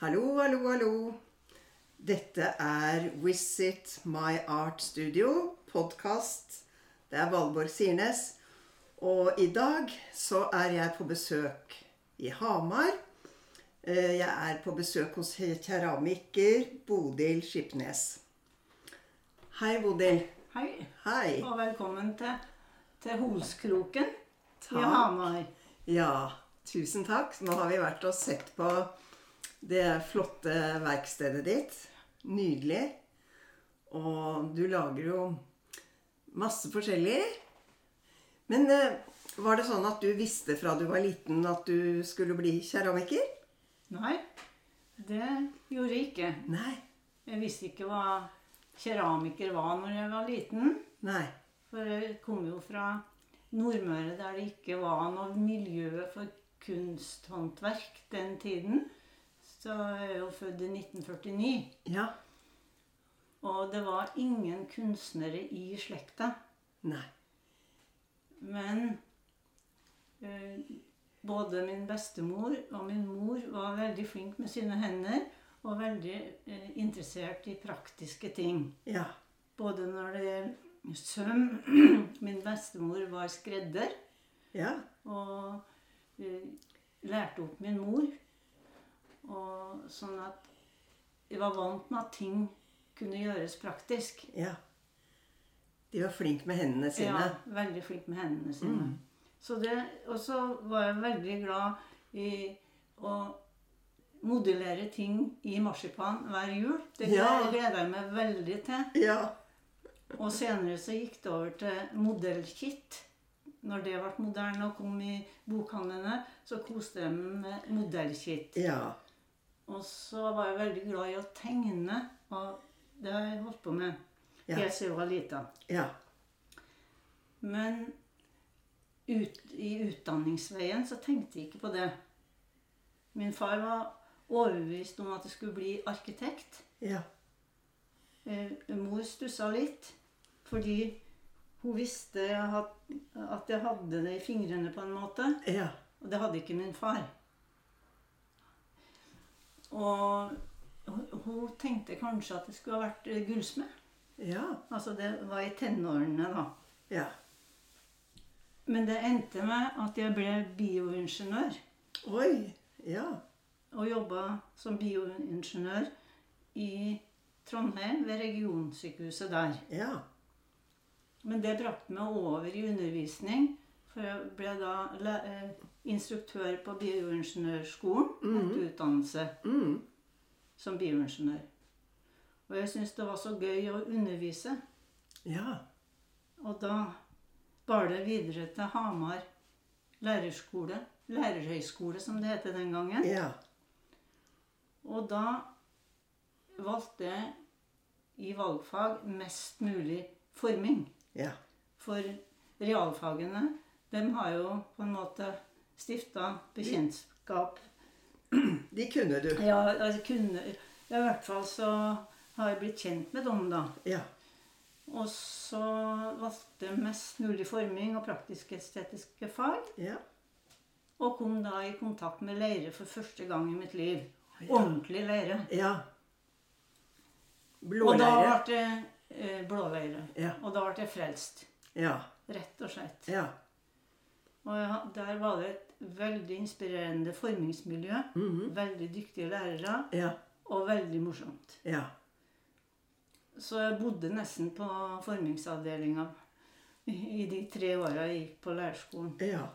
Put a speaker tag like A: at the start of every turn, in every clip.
A: Hallo, hallo, hallo. Dette er Visit My Art Studio, podkast. Det er Valborg Sirnes. Og i dag så er jeg på besøk i Hamar. Eh, Jeg er på besøk hos keramiker Bodil Skipnes. Hei, Bodil.
B: Hei,
A: Hei.
B: og velkommen til, til Holskroken i
A: Takk.
B: Hamar.
A: Ja, tusen takk. Nå har vi vært og sett på det flotte verkstedet ditt. Nydelig. Og du lager jo masse forskjellig. Men eh, var det sånn at du visste fra du var liten at du skulle bli keramiker?
B: Nei, det gjorde jeg ikke.
A: Nei.
B: Jeg visste ikke hva keramiker var når jeg var liten.
A: Nei.
B: For jeg kom jo fra Nordmøre, der det ikke var noe miljø for kunsthåndverk den tiden. Så jeg er jo født i 1949.
A: Ja.
B: Og det var ingen kunstnere i slekta.
A: Nei.
B: Men eh, både min bestemor og min mor var veldig flink med sine hender og veldig eh, interessert i praktiske ting.
A: Ja.
B: Både når det gjelder søm Min bestemor var skredder
A: Ja.
B: og eh, lærte opp min mor. Og sånn at jeg var vant med at ting kunne gjøres praktisk.
A: Ja. De var flinke med hendene sine.
B: Ja, veldig flink med hendene sine.
A: Mm.
B: Så det, og så var jeg veldig glad i å modellere ting i marsipan hver jul. Det
A: Ja.
B: gleder jeg meg veldig til.
A: Ja.
B: Og senere så gikk det over til modellkit. Når det ble moderne og kom i bokhandlene, så koste jeg meg med modellkit.
A: Ja.
B: Og så var jeg veldig glad i å tegne, og det har jeg holdt på med
A: Ja.
B: helt siden jeg var lita.
A: Ja.
B: Men ut, i utdanningsveien så tenkte jeg ikke på det. Min far var overbevist om at jeg skulle bli arkitekt.
A: Ja.
B: Eh, mor stussa litt, fordi hun visste jeg had, at jeg hadde det i fingrene på en måte.
A: Ja.
B: Og det hadde ikke min far. Og hun- hun tenkte kanskje at jeg skulle ha vært eh, gullsmed.
A: Ja.
B: Altså det var i tenårene, da.
A: Ja.
B: Men det endte med at jeg ble bioingeniør.
A: Oi. Ja.
B: Og jobba som bioingeniør i Trondheim, ved regionsykehuset der.
A: Ja.
B: Men det brakte meg over i undervisning, for jeg ble da læ- eh, instruktør på bioingeniørskolen etter utdannelse
A: Mm.
B: som bioingeniør. Og jeg syntes det var så gøy å undervise.
A: Ja.
B: Og da bar det videre til Hamar lærerskole, lærerhøyskole som det heter den gangen.
A: Ja.
B: Og da valgte jeg i valgfag mest mulig forming.
A: Ja.
B: For realfagene, dem har jo på en måte stifta bekjentskap
A: De kunne du.
B: Ja, altså kunne ja, I hvert fall så har jeg blitt kjent med dem, da.
A: Ja.
B: Og så valgte jeg mest mulig forming og praktisk-estetiske fag.
A: Ja.
B: Og kom da i kontakt med leire for første gang i mitt liv.
A: Ja.
B: Ordentlig leire.
A: ja.
B: Og da ble
A: Blåleire.
B: det eh, blåleire.
A: Ja.
B: Og da ble jeg frelst.
A: Ja.
B: Rett og slett.
A: Ja.
B: Og ja, der var det et veldig inspirerende formingsmiljø. Veldig dyktige lærere.
A: Ja.
B: Og veldig morsomt.
A: Ja.
B: Så jeg bodde nesten på formingsavdelinga i i de tre åra jeg gikk på lærerskolen.
A: Ja.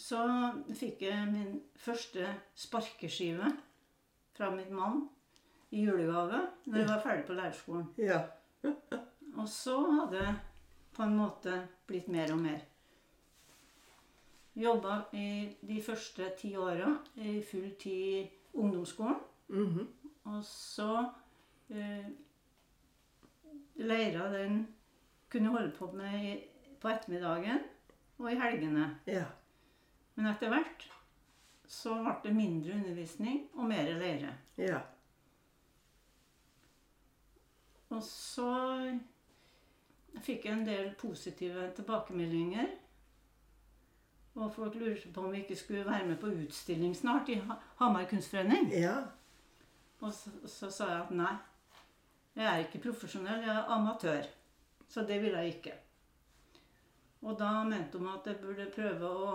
B: Så fikk jeg min første sparkeskive fra min mann i julegave når jeg var ferdig på lærerskolen.
A: Ja.
B: Og så hadde det på en måte blitt mer og mer. Jobba i de første ti åra i full tid i ungdomsskolen.
A: Mhm.
B: Og så eh, leira den kunne holde på med i, på ettermiddagen og i helgene.
A: Ja.
B: Men etter hvert så ble det mindre undervisning og mer leire.
A: Ja.
B: Og så fikk jeg en del positive tilbakemeldinger. Og folk lurte på om vi ikke skulle være med på utstilling snart i Ha- Hamar kunstforening.
A: Ja.
B: Og så, så sa jeg at nei, jeg er ikke profesjonell, jeg er amatør. Så det ville jeg ikke. Og da mente hun at jeg burde prøve å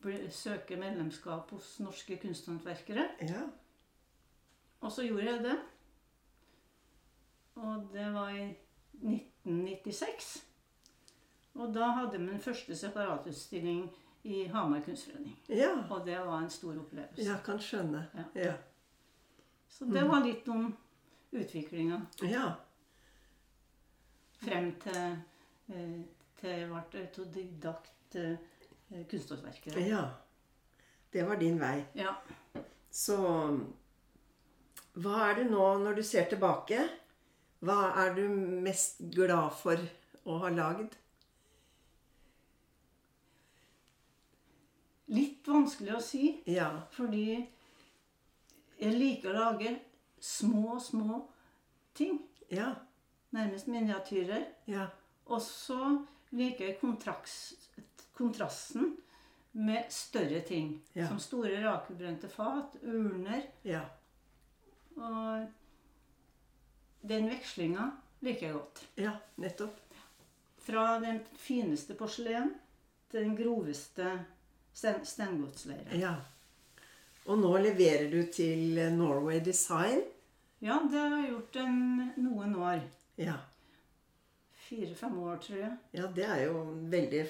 B: bli, søke medlemskap hos norske kunsthåndverkere.
A: ja.
B: Og så gjorde jeg det. Og det var i 1996. Og da hadde jeg min første separatutstilling i Hamar kunstforening.
A: Ja.
B: Og det var en stor opplevelse.
A: Ja, kan skjønne. Ja.
B: Så det var litt om utviklinga
A: ja.
B: frem til, eh, til jeg ble autodidakt eh, kunsthåndverker.
A: Ja. Det var din vei.
B: Ja.
A: Så hva er det nå, når du ser tilbake, hva er du mest glad for å ha lagd?
B: Litt vanskelig å si,
A: Ja.
B: fordi jeg liker å lage små, små ting.
A: Ja.
B: Nærmest miniatyrer.
A: Ja.
B: Og så liker jeg kontraks- kontrasten med større ting.
A: Ja.
B: Som store rakebrente fat, urner
A: Ja.
B: og Den vekslinga liker jeg godt.
A: ja nettopp.
B: Fra den fineste porselen til den groveste sten steingodsleire.
A: Ja. Og nå leverer du til Norway Design.
B: Ja, det har jeg gjort en, noen år.
A: Ja.
B: Fire-fem år, tror jeg.
A: ja, det er jo en veldig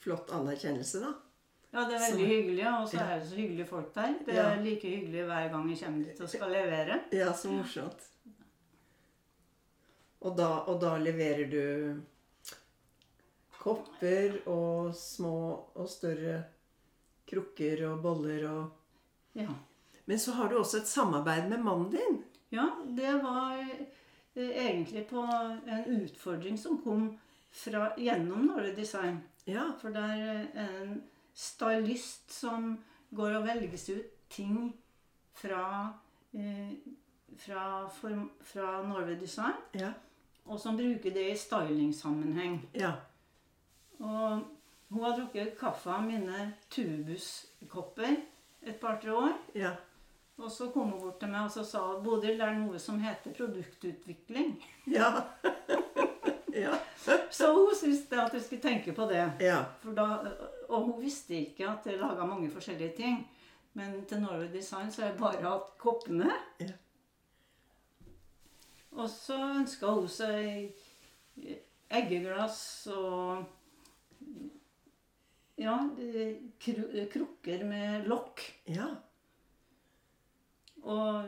A: flott anerkjennelse, da.
B: Ja, det er
A: Så-
B: veldig hyggelig, og så
A: Ja.
B: er det så hyggelige folk der. Det
A: Ja.
B: er like hyggelig hver gang jeg kommer dit og skal levere.
A: Ja, så morsomt. Og da, og da leverer du kopper og små og større krukker og boller og
B: Ja.
A: Men så har du også et samarbeid med mannen din.
B: Ja, det var eh, egentlig på en utfordring som kom fra, gjennom Norway Design.
A: Ja.
B: For der eh, er det en stylist som går og velges ut ting fra, eh, fra, form- fra Norway Design,
A: Ja.
B: og som bruker det i stylingssammenheng.
A: Ja.
B: Og hun har drukket kaffe av mine tubuskopper et par-tre år.
A: Ja.
B: Og så kom hun bort til meg og så sa hun, Bodil, det er noe som heter produktutvikling.
A: Ja. ja.
B: Så hun syntes det at jeg skulle tenke på det.
A: ja.
B: For da, og hun visste ikke at jeg laga mange forskjellige ting. Men til Norway Design så har jeg bare hatt koppene.
A: Ja.
B: Og så ønska hun seg eggeglass og Ja, eh, kru, krukker med lokk.
A: ja.
B: Og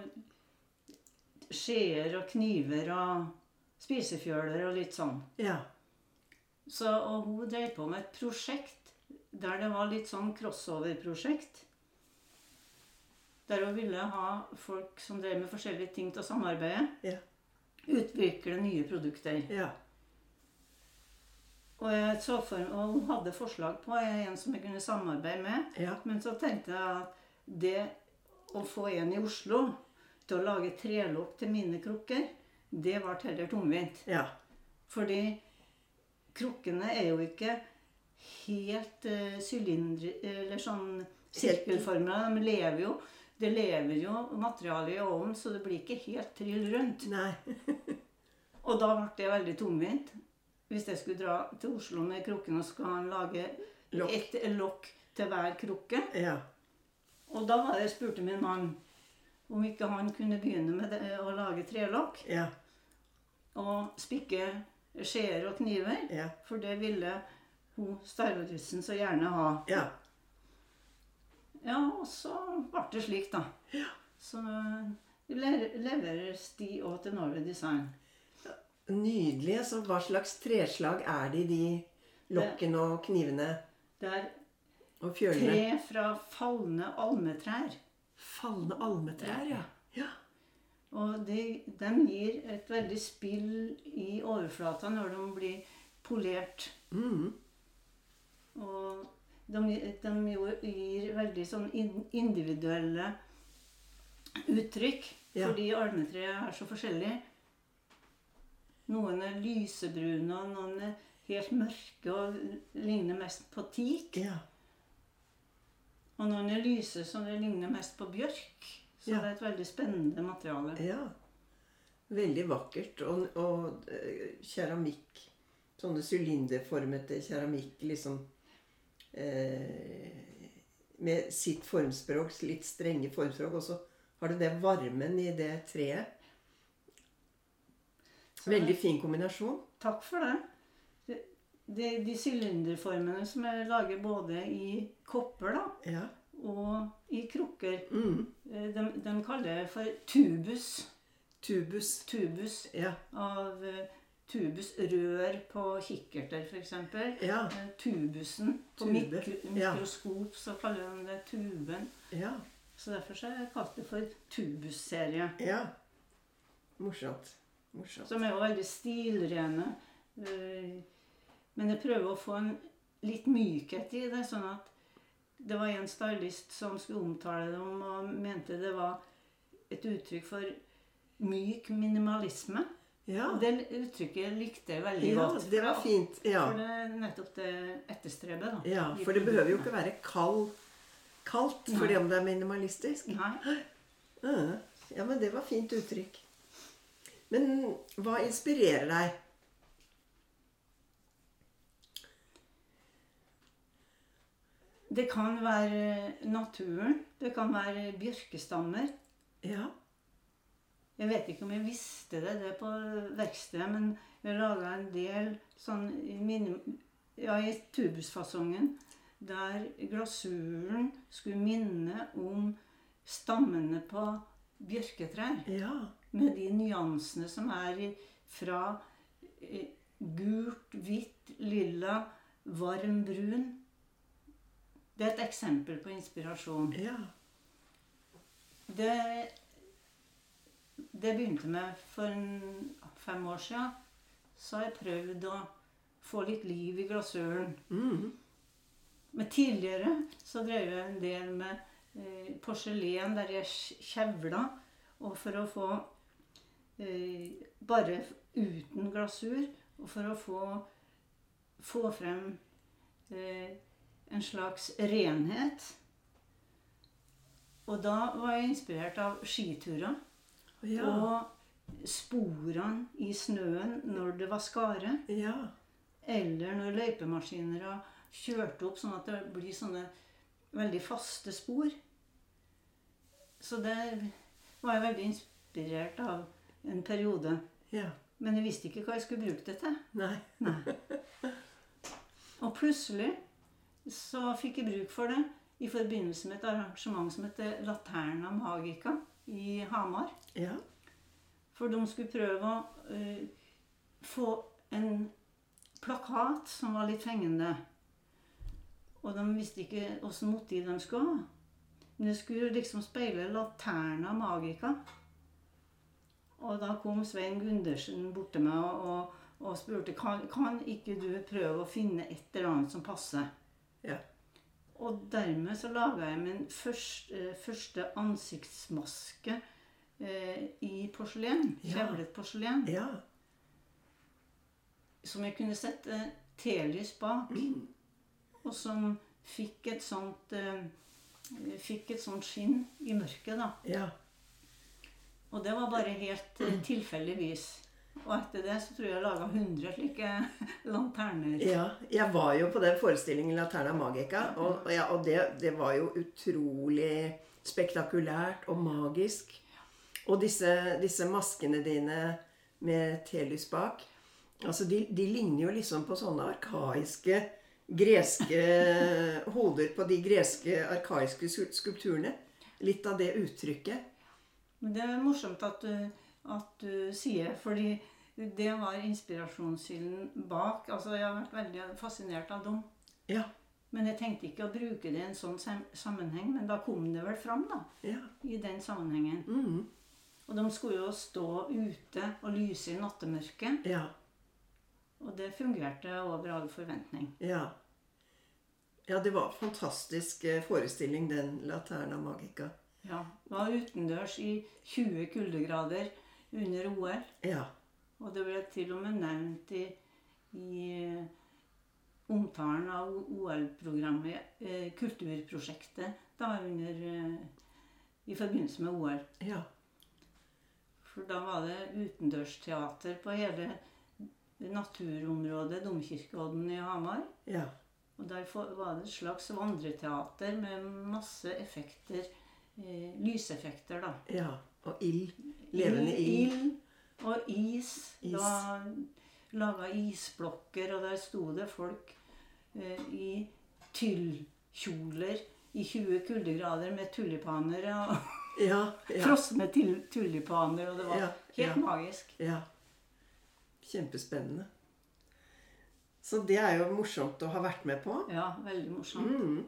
B: skjeer og kniver og spisefjøler og litt sånn.
A: ja.
B: Så, og hun drev på med et prosjekt der det var litt sånn crossover-prosjekt. Der hun ville ha folk som drev med forskjellige ting til å samarbeide.
A: Ja.
B: Utvikle nye produkter.
A: Ja.
B: Og, jeg så for, og hun hadde forslag på en som jeg kunne samarbeide med.
A: Ja.
B: Men så tenkte jeg at det å få en i Oslo til å lage trelokk til mine krukker, det ble heller tungvint.
A: Ja.
B: Fordi krukkene er jo ikke helt eh, sylindre... Eller sånn sirkelforma. De lever jo Det lever jo materialet i ovnen, så det blir ikke helt trill rundt.
A: Nei.
B: Og da ble det veldig tungvint. Hvis jeg skulle dra til Oslo med krukken og skal lage
A: Lokk.
B: et lokk til hver krukke.
A: Ja.
B: Og da var det jeg spurte min mann om ikke han kunne begynne med det, å lage trelokk
A: Ja.
B: og spikke skjeer og kniver.
A: Ja.
B: For det ville hun stylisten så gjerne ha.
A: Ja.
B: Ja, og så ble det slik, da. Så eh, det le- leveres de òg til Norway Design.
A: Nydelig. Altså, hva slags treslag er det i de lokkene og knivene
B: Det er
A: og fjølene?
B: tre fra falne almetrær.
A: Falne almetrær, ja. ja.
B: Og de, de gir et veldig spill i overflata når de blir polert.
A: Mm.
B: Og de, de jo gir veldig sånn in- individuelle uttrykk.
A: Ja.
B: Fordi almetreet er så forskjellig. Noen er lysebrune, og noen er helt mørke og ligner mest på teak.
A: ja.
B: Og noen er lyse, så det ligner mest på bjørk. Så
A: Ja.
B: det er et veldig spennende materiale.
A: Ja. Veldig vakkert. Og, og eh, keramikk. Sånne sylinderformete keramikk liksom eh, Med sitt formspråk, litt strenge formspråk. Og så har du den varmen i det treet.
B: Så det-
A: Veldig fin kombinasjon.
B: Takk for det. Det- det- de sylinderformene som jeg lager både i kopper da,
A: Ja.
B: og i krukker,
A: Mm.
B: eh, de, de kaller jeg for tubus.
A: Tubus.
B: Tubus
A: Ja.
B: av eh, tubus rør på kikkerter, f.eks.
A: Ja.
B: Tubusen. På
A: Tube,
B: mikro,
A: ja.
B: mikroskop så kaller de det tuben.
A: Ja.
B: Så derfor så har jeg kalt det for tubusserie.
A: ja. Morsomt. Morsomt.
B: Som er jo veldig stilrene. eh, Men jeg prøver å få en litt mykhet i det. sånn at Det var en stylist som skulle omtale dem og mente det var et uttrykk for myk minimalisme.
A: Ja.
B: Og det uttrykket likte jeg veldig
A: ja.
B: godt.
A: Det var fint. Ja.
B: For det er nettopp det etterstrebet. da.
A: Ja,
B: I
A: for det behøver jo
B: produktene.
A: ikke være kald, kaldt
B: Nei.
A: fordi om det er minimalistisk.
B: Nei.
A: Mm. Ja, men det var fint uttrykk. Men hva inspirerer deg?
B: Det kan være naturen. Det kan være bjørkestammer.
A: Ja,
B: Jeg vet ikke om jeg visste det, det på verkstedet, men jeg laga en del sånn i, minim, ja, i tubusfasongen der glasuren skulle minne om stammene på bjørketrær.
A: ja,
B: Med de nyansene som er i- fra eh, gult, hvitt, lilla, varm, brun. Det er et eksempel på inspirasjon.
A: ja.
B: Det, det begynte med for en, fem år siden. Så har jeg prøvd å få litt liv i glasøren.
A: Mm.
B: Men tidligere så drev jeg en del med eh, porselen der jeg skj- kjevla. Og for å få eh, Bare f- uten glasur. Og for å få, få frem eh, en slags renhet. Og da var jeg inspirert av skiturer.
A: Ja,
B: Og sporene i snøen når det var skare.
A: ja,
B: Eller når løypemaskiner har kjørt opp sånn at det blir sånne veldig faste spor. Så det var jeg veldig inspirert av en periode.
A: ja.
B: Men jeg visste ikke hva jeg skulle bruke det til.
A: Nei.
B: Nei. Og plutselig så fikk jeg bruk for det i forbindelse med et arrangement som heter Laterna Magica i Hamar.
A: Ja,
B: For de skulle prøve å eh, få en plakat som var litt fengende. Og de visste ikke åssen motiv de skulle ha. Men det skulle liksom speile Laterna Magica. Og da kom Svein Gundersen bort til meg og, og, og spurte kan, kan ikke du prøve å finne et eller annet som passer.
A: Ja.
B: Og dermed så laga jeg min først, eh, første ansiktsmaske eh, i porselen.
A: Ja.
B: Kjevlet porselen.
A: ja.
B: Som jeg kunne sett eh, telys bak. Og som fikk et sånt eh, Fikk et sånt skinn i mørket, da.
A: Ja,
B: Og det var bare helt eh, tilfeldigvis. Og etter det så tror jeg jeg laga 100 slike lanterner.
A: ja. Jeg var jo på den forestillingen Laterna Magica, og, og ja, og det, det var jo utrolig spektakulært og magisk. Og disse, disse maskene dine med telys bak, altså de, de ligner jo liksom på sånne arkaiske greske hoder på de greske arkaiske sku- skulpturene. Litt av det uttrykket.
B: Men det er morsomt at du, at du sier det, fordi det var inspirasjonskilden bak. Altså, jeg har vært veldig fascinert av dem.
A: Ja.
B: Men jeg tenkte ikke å bruke det i en sånn sam- sammenheng. Men da kom det vel fram, da.
A: Ja.
B: I den sammenhengen.
A: Mhm.
B: Og de skulle jo stå ute og lyse i nattemørket.
A: ja.
B: Og det fungerte over all forventning.
A: Ja. Ja, det var en fantastisk eh, forestilling, den Laterna Magica.
B: Ja, Var utendørs i 20 kuldegrader under OL.
A: Ja.
B: Og det ble til og med nevnt i, i eh, omtalen av OL-programmet, eh, kulturprosjektet, da under eh, I forbindelse med OL.
A: Ja.
B: For da var det utendørsteater på hele naturområdet Domkirkeodden i Hamar.
A: ja.
B: Og der få- var det et slags vandreteater med masse effekter. Eh, lyseffekter, da.
A: Ja. Og ild. Levende ild.
B: Ild og is.
A: Is.
B: Det var laga isblokker, og der sto det folk eh, i tyllkjoler i 20 kuldegrader med tulipaner. Og
A: Ja. Ja.
B: frosne til- tulipaner, og det var
A: Ja, ja.
B: helt magisk.
A: ja. Kjempespennende. Så det er jo morsomt å ha vært med på.
B: Ja, veldig morsomt.
A: Mm.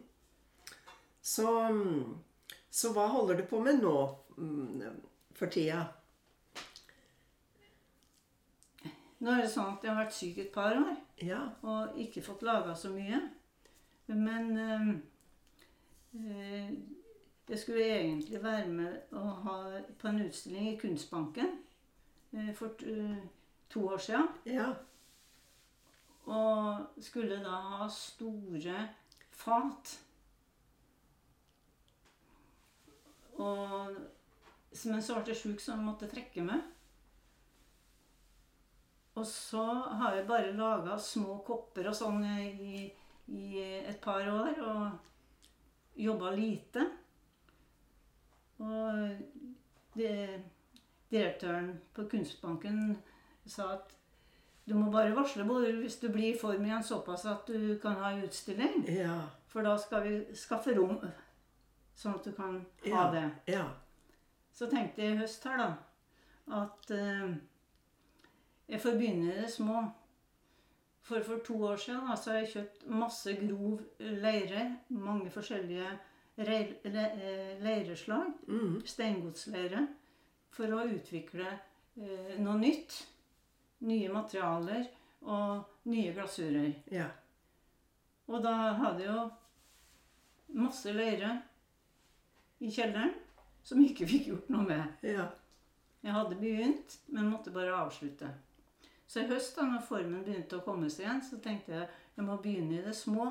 A: Så, mm, så hva holder du på med nå mm, for tida?
B: Nå er det sånn at jeg har vært syk et par år.
A: Ja.
B: og ikke fått laga så mye. Men eh, eh, jeg skulle egentlig være med og ha på en utstilling i Kunstbanken eh, for eh, to år siden.
A: Ja.
B: Og skulle da ha store fat. Og, men så ble jeg sjuk, så jeg måtte trekke meg. Og så har jeg bare laga små kopper og sånn i, i et par år. Og jobba lite. Og det, direktøren på Kunstbanken sa at du må bare varsle både hvis du blir i form igjen såpass at du kan ha en utstilling.
A: Ja.
B: For da skal vi skaffe rom, sånn at du kan ha
A: Ja.
B: det.
A: Ja.
B: Så tenkte jeg i høst her, da, at eh, jeg får begynne i det små. For for to år siden da, så har jeg kjøpt masse grov leire. Mange forskjellige reir, le, eh, leireslag.
A: Mm.
B: Steingodsleire. For å utvikle eh, noe nytt. Nye materialer og nye glasurer.
A: Ja.
B: Og da hadde jeg jo masse leire i kjelleren som jeg ikke fikk gjort noe med.
A: Ja.
B: Jeg hadde begynt, men måtte bare avslutte. Så i høst, da når formen begynte å komme seg igjen, så tenkte jeg jeg må begynne i det små.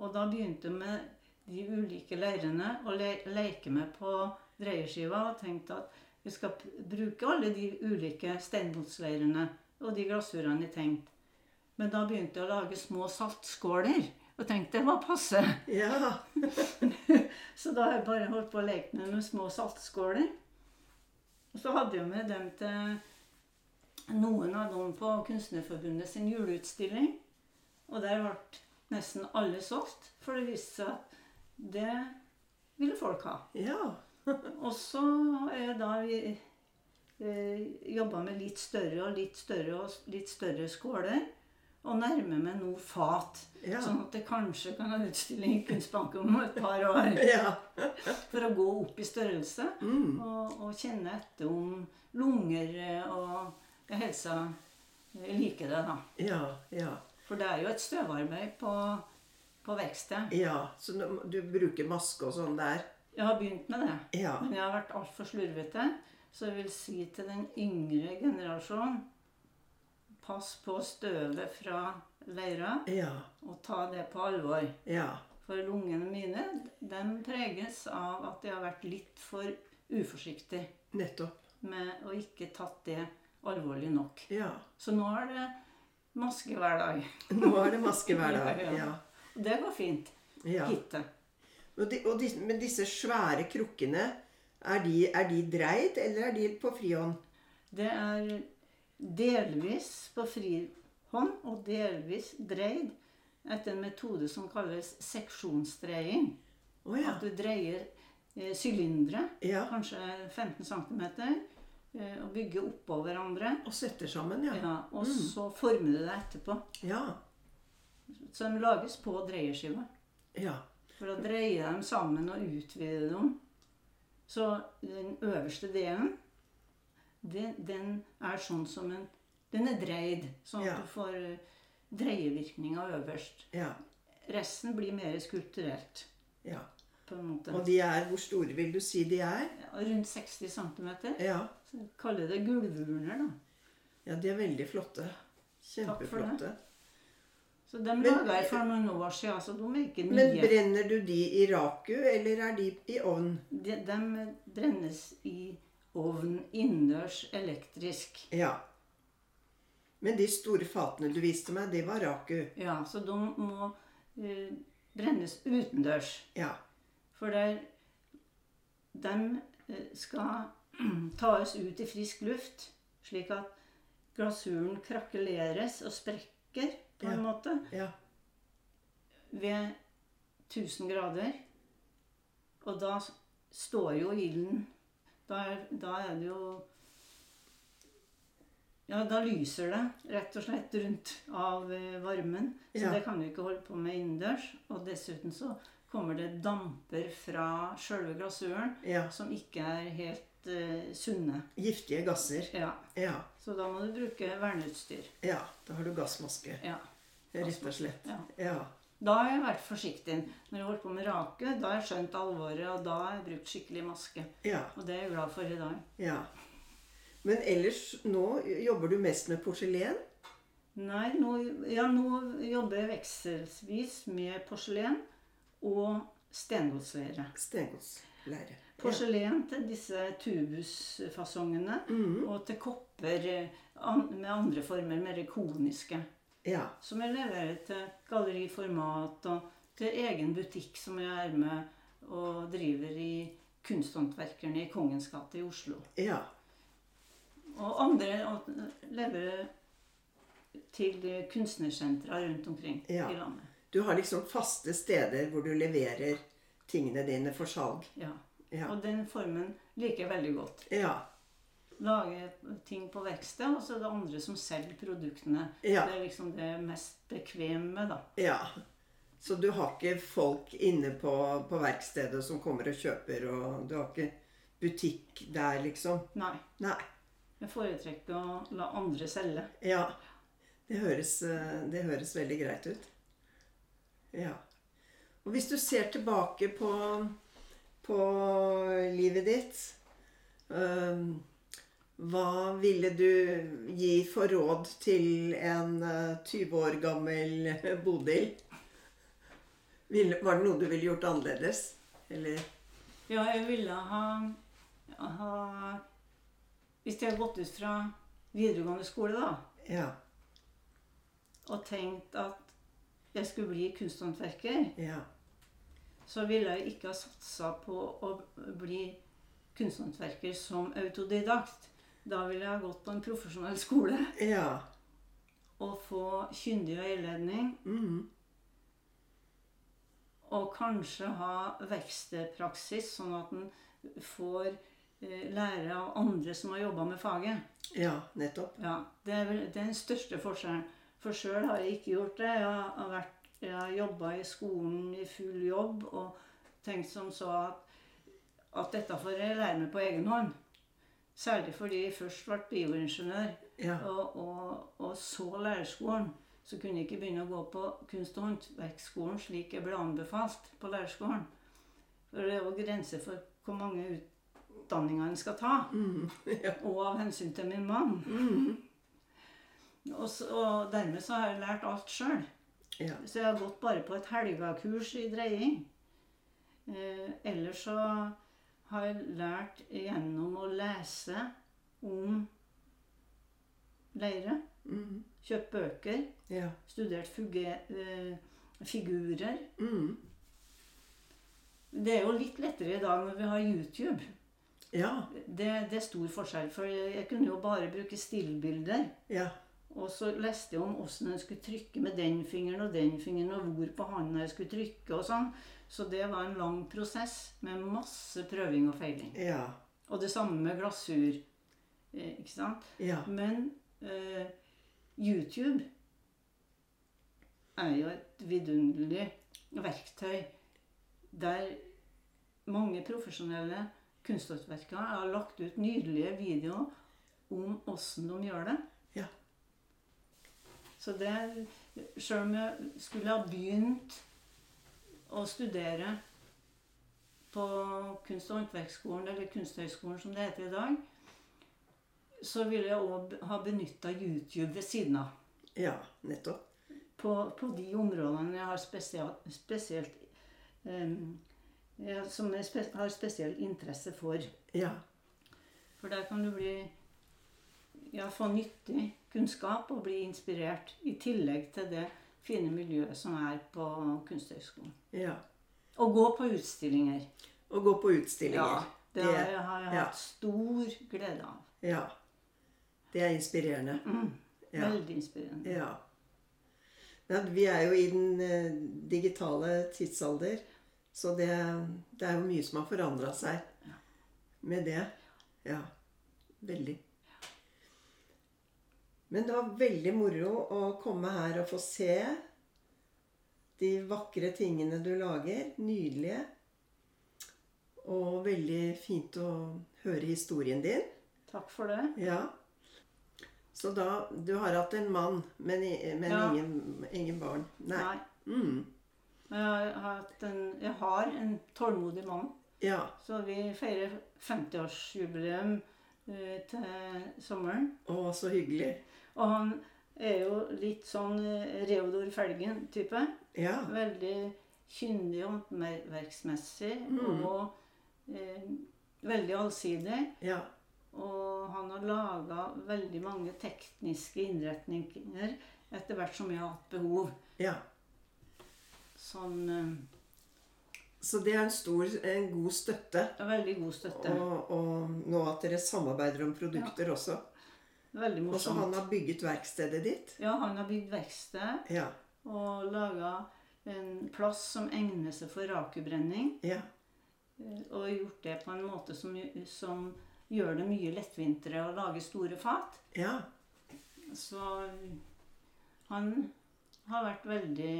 B: Og da begynte jeg med de ulike leirene og le leke meg på dreieskiva og tenkte at vi skal p- bruke alle de ulike steinbunnsleirene og de glassurene jeg tenkte. Men da begynte jeg å lage små saltskåler og tenkte det var passe.
A: Ja.
B: Så da har jeg bare holdt på å leke med noen små saltskåler. Og så hadde jeg med dem til noen av dem på Kunstnerforbundet sin juleutstilling. Og der ble nesten alle solgt, for det viste seg at det ville folk ha.
A: Ja.
B: Og så har jeg da jobba med litt større og litt større og litt større skåler. Og nærmer meg nå fat,
A: Ja.
B: sånn at jeg kanskje kan ha utstilling i Kunstbanken om et par år.
A: Ja.
B: For å gå opp i størrelse
A: Mm.
B: og, og kjenne etter om lunger eh, og ja, helsa eh, liker det, da.
A: Ja. Ja.
B: For det er jo et støvarbeid på, på verksted.
A: Ja, så nå- du bruker maske og sånn der?
B: Jeg har begynt med det,
A: Ja.
B: men jeg har vært altfor slurvete. Så jeg vil si til den yngre generasjonen Pass på støvet fra leira,
A: Ja.
B: og ta det på alvor.
A: Ja.
B: For lungene mine de preges av at jeg har vært litt for uforsiktig.
A: Nettopp.
B: med å ikke tatt det alvorlig nok.
A: Ja.
B: Så nå er det maske hver dag.
A: Nå er det maske hver dag.
B: Ja,
A: Ja.
B: ja. Det går fint.
A: ja.
B: Hittil.
A: Og de, og de, men disse svære krukkene, er de, er de dreid, eller er de på frihånd?
B: Det er delvis på frihånd og delvis dreid etter en metode som kalles seksjonsdreiing.
A: Å ja.
B: At du dreier eh, sylindere,
A: ja.
B: kanskje 15 cm, eh, og bygger oppå hverandre.
A: Og setter sammen, ja. Mm.
B: Ja, og så former du det etterpå.
A: Ja.
B: Så de lages på dreieskiva.
A: Ja.
B: For å dreie dem sammen og utvide dem. Så den øverste delen, den, den er sånn som en Den er dreid, sånn at
A: Ja.
B: du får eh, dreievirkninga øverst.
A: Ja.
B: Resten blir mer skulpturelt,
A: ja.
B: på en måte.
A: Og de er Hvor store vil du si de er?
B: Ja, Rundt 60 cm.
A: Ja.
B: Kaller det gulvurner, da.
A: ja de er veldig flotte.
B: Takk for det.
A: Kjempeflotte.
B: Så de
A: Men-
B: laga jeg for noen år siden, så de er ikke
A: Men
B: nye.
A: brenner du de i raku, eller er de i ovn?
B: De, de brennes i ovn innendørs elektrisk.
A: Ja. Men de store fatene du viste meg, de var raku.
B: Ja, så de må eh, brennes utendørs.
A: Ja.
B: For der De skal tas ut i frisk luft, slik at glasuren krakeleres og sprekker på en
A: Ja.
B: måte
A: ja.
B: ved 1000 grader. Og da s- står jo ilden da, er- da er det jo Ja, da lyser det rett og slett rundt av eh, varmen. Så
A: Ja.
B: det kan du ikke holde på med innendørs. Og dessuten så kommer det damper fra sjølve glasuren
A: ja.
B: som ikke er helt eh, sunne.
A: Giftige gasser.
B: Ja,
A: Ja.
B: Så da må du bruke verneutstyr.
A: ja. Da har du gassmaske,
B: Ja.
A: rett og slett.
B: ja.
A: Ja.
B: Da har jeg vært forsiktig. Når jeg holdt på med rake, da har jeg skjønt alvoret, og da har jeg brukt skikkelig maske.
A: Ja.
B: Og det er jeg glad for i dag.
A: ja. Men ellers, nå jobber du mest med porselen?
B: Nei, nå, ja, nå jobber jeg vekselvis med porselen og stengodsvære.
A: Stengodsleire.
B: Porselen til disse tubusfasongene
A: Mhm.
B: og til kopper eh, an- med andre former, mer koniske.
A: Ja.
B: Som jeg leverer til galleriformat og til egen butikk som jeg er med og driver i Kunsthåndverkerne i Kongens gate i Oslo.
A: Ja.
B: Og andre og leverer til kunstnersentra rundt omkring
A: Ja.
B: i landet.
A: Du har liksom faste steder hvor du leverer tingene dine for salg.
B: Ja.
A: Ja.
B: Og den formen liker jeg veldig godt.
A: Ja.
B: Lage ting på verksted, og så er det andre som selger produktene.
A: Ja.
B: Det er liksom det jeg er mest bekvemme, da.
A: ja. Så du har ikke folk inne på, på verkstedet som kommer og kjøper, og du har ikke butikk der, liksom?
B: Nei.
A: Nei.
B: Jeg foretrekker å la andre selge.
A: Ja. Det høres, eh, det høres veldig greit ut. Ja. Og hvis du ser tilbake på, på livet ditt øhm, Hva ville du gi for råd til en eh, 20 år gammel Bodil? Ville- Var det noe du ville gjort annerledes? Eller
B: Ja, jeg ville ha, ha Hvis jeg hadde gått ut fra videregående skole, da,
A: Ja.
B: og tenkt at jeg skulle bli kunsthåndverker,
A: Ja.
B: så ville jeg ikke ha satsa på å bli kunsthåndverker som autodidakt. Da ville jeg ha gått på en profesjonell skole
A: Ja.
B: og få kyndig veiledning.
A: mhm,
B: Og kanskje ha verkstedpraksis, sånn at en får eh, lære av andre som har jobba med faget.
A: ja. Nettopp.
B: Ja, Det er vel- det er den største forskjellen. For sjøl har jeg ikke gjort det. Jeg har, vært- jeg har jobba i skolen i full jobb og tenkt som så at, at dette får jeg lære meg på egen hånd. Særlig fordi jeg først ble bioingeniør,
A: Ja.
B: og, og, og så lærerskolen. Så kunne jeg ikke begynne å gå på kunst- og håndverksskolen slik jeg ble anbefalt på lærerskolen. For det er jo grenser for hvor mange utdanninger en skal ta
A: mhm, ja. Mm.
B: og av hensyn til min mann. Og, så, og dermed så har jeg lært alt sjøl.
A: Ja.
B: Så jeg har gått bare på et helgakurs i dreying. Eh, ellers så har jeg lært gjennom å lese om leire.
A: mhm,
B: Kjøpt bøker.
A: ja.
B: Studert fuge, eh, figurer.
A: mhm,
B: Det er jo litt lettere i dag når vi har YouTube.
A: ja.
B: Det, det er stor forskjell, for jeg kunne jo bare bruke stillbilder.
A: Ja.
B: Og så leste jeg om åssen en skulle trykke med den fingeren og den fingeren, og hvor på handa jeg skulle trykke og sånn. Så det var en lang prosess med masse prøving og feiling.
A: Ja.
B: Og det samme med glasur. eh, Ikke sant?
A: Ja.
B: Men eh, YouTube er jo et vidunderlig verktøy der mange profesjonelle kunsthåndverkere har lagt ut nydelige videoer om åssen de gjør det.
A: Ja.
B: Så det Sjøl om jeg skulle ha begynt å studere på Kunst- og håndverksskolen, eller Kunsthøgskolen som det heter i dag, så ville jeg òg ha benytta YouTube ved siden av.
A: Ja, nettopp.
B: på, på de områdene jeg har spesielt, spesielt em, ja, Som jeg spe, har spesiell interesse for.
A: Ja.
B: For der kan du bli ja, få nyttig kunnskap og bli inspirert, i tillegg til det fine miljøet som er på Kunsthøgskolen.
A: ja.
B: Og gå på utstillinger.
A: Og gå på utstillinger.
B: det
A: Det-
B: har jeg, har jeg
A: ja.
B: hatt stor glede av.
A: Ja. Det er inspirerende. Ja.
B: Veldig inspirerende.
A: ja. Ja, vi er jo i den eh, digitale tidsalder, så det, det er jo mye som har forandra seg med det. Ja. Veldig. Men det var veldig moro å komme her og få se de vakre tingene du lager. Nydelige. Og veldig fint å høre historien din.
B: Takk for det.
A: Ja. Så da Du har hatt en mann, men, i- men
B: Ja.
A: ingen, ingen barn. Nei. Mm.
B: Men Jeg har, hatt en, jeg har en tålmodig mann,
A: Ja.
B: så vi feirer 50-årsjubileum eh, til sommeren.
A: Å, så hyggelig.
B: Og han er jo litt sånn eh, Reodor Felgen-type.
A: Ja.
B: Veldig kyndig og håndverksmessig.
A: Mm.
B: Og eh, veldig allsidig.
A: Ja.
B: Og han har laga veldig mange tekniske innretninger etter hvert som jeg har hatt behov.
A: ja.
B: Som eh,
A: Så det er en stor, en god støtte.
B: er veldig god støtte.
A: Og, og nå at dere samarbeider om produkter også.
B: Veldig
A: Og så
B: morsomt.
A: han har bygget verkstedet ditt.
B: Ja, han har bygd verksted
A: Ja.
B: og laga en plass som egner seg for rakebrenning.
A: Ja.
B: eh, Og gjort det på en måte som, gj- som gjør det mye lettvintere å lage store fat.
A: Ja.
B: Så han har vært veldig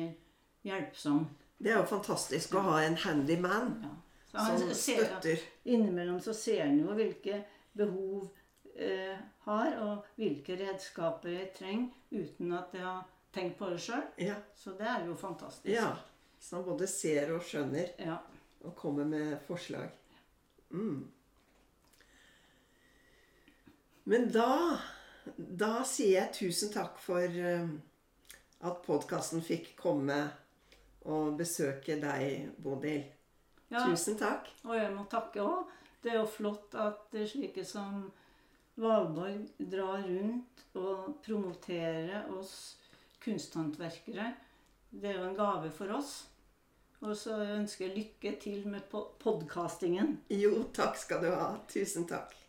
B: hjelpsom.
A: Det er jo fantastisk å ha en handyman
B: Ja. Så han
A: som
B: ser-
A: støtter.
B: Innimellom så ser en jo hvilke behov eh, har, og hvilke redskaper jeg trenger, uten at jeg har tenkt på det sjøl.
A: Ja.
B: Så det er jo fantastisk.
A: ja. Så han både ser og skjønner.
B: Ja.
A: og komme med forslag. Mm. Men da, da sier jeg tusen takk for eh, at podkasten fikk komme og besøke deg, Bodil.
B: ja.
A: Tusen takk.
B: Og jeg må takke òg. Det er jo flott at det er slike som Valborg drar rundt og promoterer oss kunsthåndverkere. Det er jo en gave for oss. Og så ønsker jeg lykke til med podkastingen.
A: Jo, takk skal du ha. Tusen takk.